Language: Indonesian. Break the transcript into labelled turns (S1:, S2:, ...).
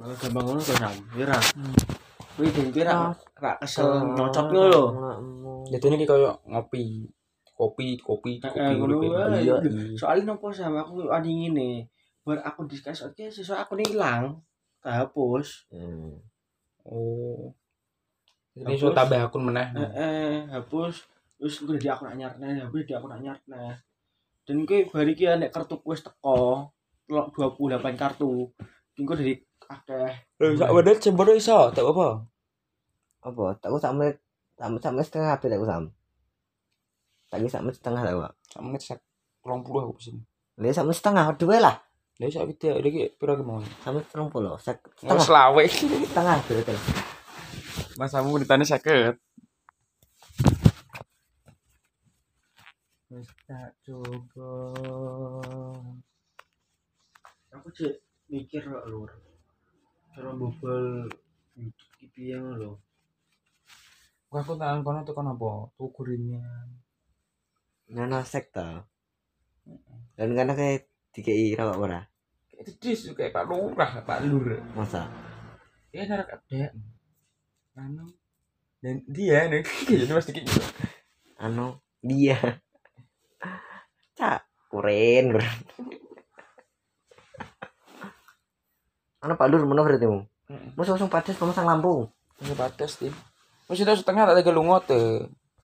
S1: malah gampang ngono to sam ya ra kuwi ben kuwi ra
S2: Ah.
S1: ra kesel nyocot
S2: Oh.
S1: ngono lho
S3: Jatuhnya ki koyo ngopi. Kopi,
S1: Eh,
S3: kopi, kopi.
S1: ngono
S3: kopi.
S1: wae.
S3: Iya,
S1: soalnya nopo sam aku ani ngene bar aku diskus oke sesuk aku ini ilang tak hapus
S2: Hmm.
S3: Oh. Ini
S1: Terus?
S3: so tambah akun meneh.
S1: eh, eh hapus terus gue di aku nak nyarne hapus di aku nak nyarne dan gue bari ki ah, nek kartu kuis teko telok 28 kartu dan gue dari akeh
S3: Lho Eh, sak bener cemburu iso, tak apa.
S2: apa tak sak menit sak menit- sak menit setengah habis tak sam tak kira sak menit setengah tak pak
S3: Sak menit sak 20 aku pesen.
S2: lihat sak menit setengah dua lah
S3: Lha sak video iki pira ki mau?
S2: sak menit terung puluh sak
S3: Mau
S2: setengah
S3: selawe.
S2: setengah betul
S3: Masamu menitane 50.
S1: Wis tak coba. Aku cek mikir kok lur. Cara bobol YouTube ki piye ngono lho.
S3: Gua aku tangan kono tuh kono apa? Tuku ringan.
S2: nana sek to dan karena kayak tiga i rawak ora
S3: Kayak cedis juga kayak Pak Lurah, Pak Lur.
S2: masa
S3: Ya narak ada. Anu. Dan dia nih jadi pasti kayak gitu.
S2: anu dia cak kuren kuren anu pak lur mana berarti mu
S3: Heeh.
S2: mau langsung padas pemasang lampu
S3: Masih batas tim. Masih tahu setengah tak ada lungo tuh.